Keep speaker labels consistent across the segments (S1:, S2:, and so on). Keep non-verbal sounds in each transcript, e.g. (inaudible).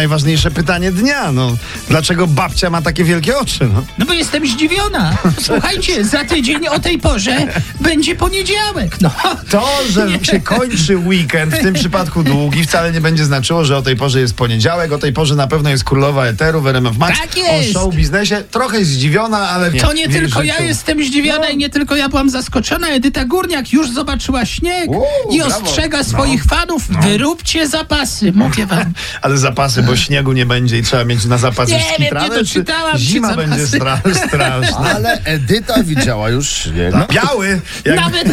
S1: najważniejsze pytanie dnia. No, dlaczego babcia ma takie wielkie oczy? No?
S2: No bo jestem zdziwiona. Słuchajcie, za tydzień o tej porze będzie poniedziałek. No.
S1: To,
S2: (laughs)
S1: że się kończy weekend, w tym przypadku długi, wcale nie będzie znaczyło, że o tej porze jest poniedziałek, o tej porze na pewno jest królowa eteru w RMF Max.
S2: Tak jest!
S1: O show biznesie. Trochę zdziwiona, ale...
S2: To nie
S1: w jej
S2: tylko ja
S1: życiu.
S2: jestem zdziwiona
S1: No.
S2: i nie tylko ja byłam zaskoczona. Edyta Górniak już zobaczyła śnieg
S1: Wow,
S2: i
S1: brawo.
S2: ostrzega
S1: No.
S2: swoich fanów. Wyróbcie zapasy, mówię wam.
S1: Ale zapasy, bo śniegu nie będzie i trzeba mieć na zapasy
S2: Nie wiem, nie
S1: skitrane,
S2: doczytałam,
S1: czy
S2: czy
S1: zima
S2: zapasy.
S1: będzie stra
S2: (laughs)
S1: straszna.
S3: Ale Edyta widziała już śnieg.
S1: Tak. Biały! (laughs) Jak
S2: Nawet,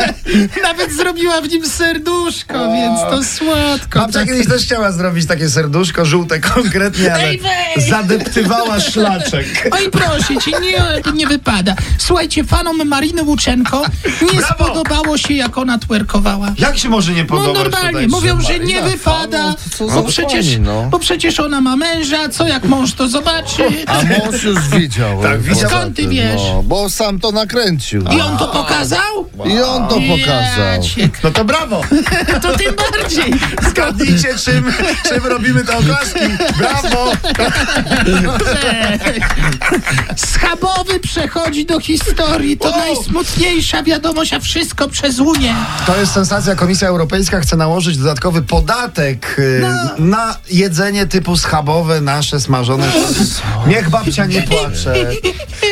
S2: (laughs) nawet zrobiła w nim serduszko, więc to słodko.
S1: Babcia kiedyś też chciała zrobić takie serduszko żółte konkretnie, ale
S2: Ej, weź!
S1: zadeptywała szlaczek.
S2: Oj, proszę cię, nie, nie wypada. Słuchajcie, fanom Mariny Łuczenko nie
S1: Brawo!
S2: spodobało się, jak ona twerkowała.
S1: Jak się może nie
S2: No
S1: podobać
S2: normalnie,
S3: tak,
S1: tutaj
S2: mówią, że
S1: Marina?
S2: nie wypada,
S3: no, to co za
S2: bo przecież,
S3: pani, no.
S2: bo przecież ona ma męża, co jak mąż to zobaczy. Tak.
S3: A mąż już widział.
S1: Tak, widział.
S2: Skąd ty wiesz?
S3: No, bo sam to nakręcił.
S2: I on to pokazał?
S3: I on to
S2: Ja
S3: pokazał.
S2: cię-
S1: No to brawo!
S2: To tym bardziej.
S1: Zgadnijcie, czym, czym robimy te oklaski. Brawo!
S2: Schabowy przechodzi do historii. To
S1: Wow.
S2: najsmutniejsza wiadomość, a wszystko przez Unię.
S1: To jest sensacja. Komisja Europejska chce nałożyć dodatkowy podatek y,
S2: No.
S1: na jedzenie typu schabowe, nasze smażone. Niech babcia nie płacze.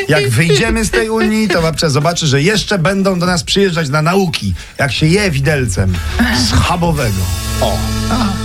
S1: Jak wyjdziemy z tej Unii, to babcia zobaczy, że jeszcze będą do nas przyjeżdżać na nauki, jak się je widelcem schabowego. O.